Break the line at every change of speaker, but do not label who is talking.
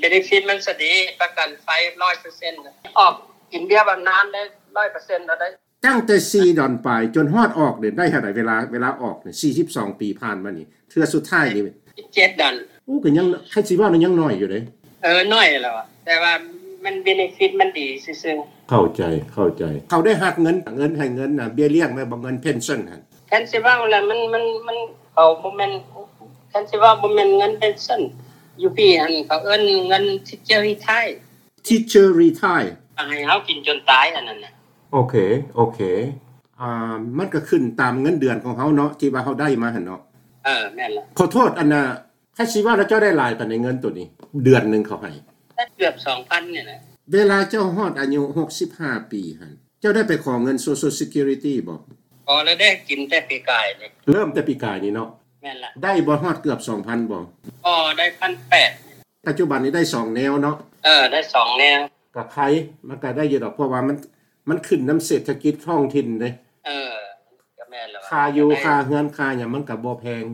เบนฟิตมันสดีประกันไฟร้อยเปอร์เซ็นต์ออกกินเบี้ยบำนาญได้ร้อยเปอร์เซ็นต์แล้วได้
ตั้งแต่ 4 ดอนไปจนฮอดออกเด่นได้เท่าไหร่เวลาเวลาออกเนี่ย42 ปีผ่านมานี่เทื่อสุดท้ายนี่
เจ็ดดัน
โอ้ก็ยังใครสิว่ามันยังน้อยอยู่เด้
เออน้อยแล้วอะแต่ว่ามันเบนฟิตมันดีซึ่ง
เข้าใจเข้าใจ เขาได้หักเงินเงินให้เงินน่ะเบี้ยเลี้ยงแม่บ่เงินเพนชั่นหั่น
แทนสิว่าอะไรมันมันมันเขาบ่แม่นแทนสิว่าบ่แม่นเงินเป็นสั้นอยู่พี่อันเขาเอิ้นเงินที่เจ้าที่ไทย
ทีเชอร์รีทาย
ให้เฮากินจนตายอันนั้นน่ะ
โอเค โอเค อ่า มันก็ขึ้นตามเงินเดือนของเขาเนาะที่ว่าเขาได้มาหั่นเนาะ
เออแม่นละ
ขอโทษอันน่ะแค่สิว่าแล้วเจ้าได้หลายปานในเงินตัวนี้ เดือนหนึงเขาให้
แต่เกือบ2,000เนี่ยนะ
เวลาเจ้าฮอดอายุ 65 ปีหั่นเจ้าได้ไปขอเงิน Social Security บ่
พอแล้วได้กินแต่ปีกายเลย
เริ่มแต่ปีกายนี้เนาะ
แม่นละ
ได้บ่ฮอดเกือบ 2,000บ่
พอได้1,800
ปัจจุบันนี้ได้ 2 แนวเนาะ
เออได้สองแนว
กับใครมันก็ได้อยู่ดอกเพราะว่ามันมันขึ้นน้ำเศรษฐกิจท้องถิ่นเด้
เออก็แม่นละว่
ค่าอยู่
ได้
ค่าเฮือนค่าหยังมันก็บ่แพง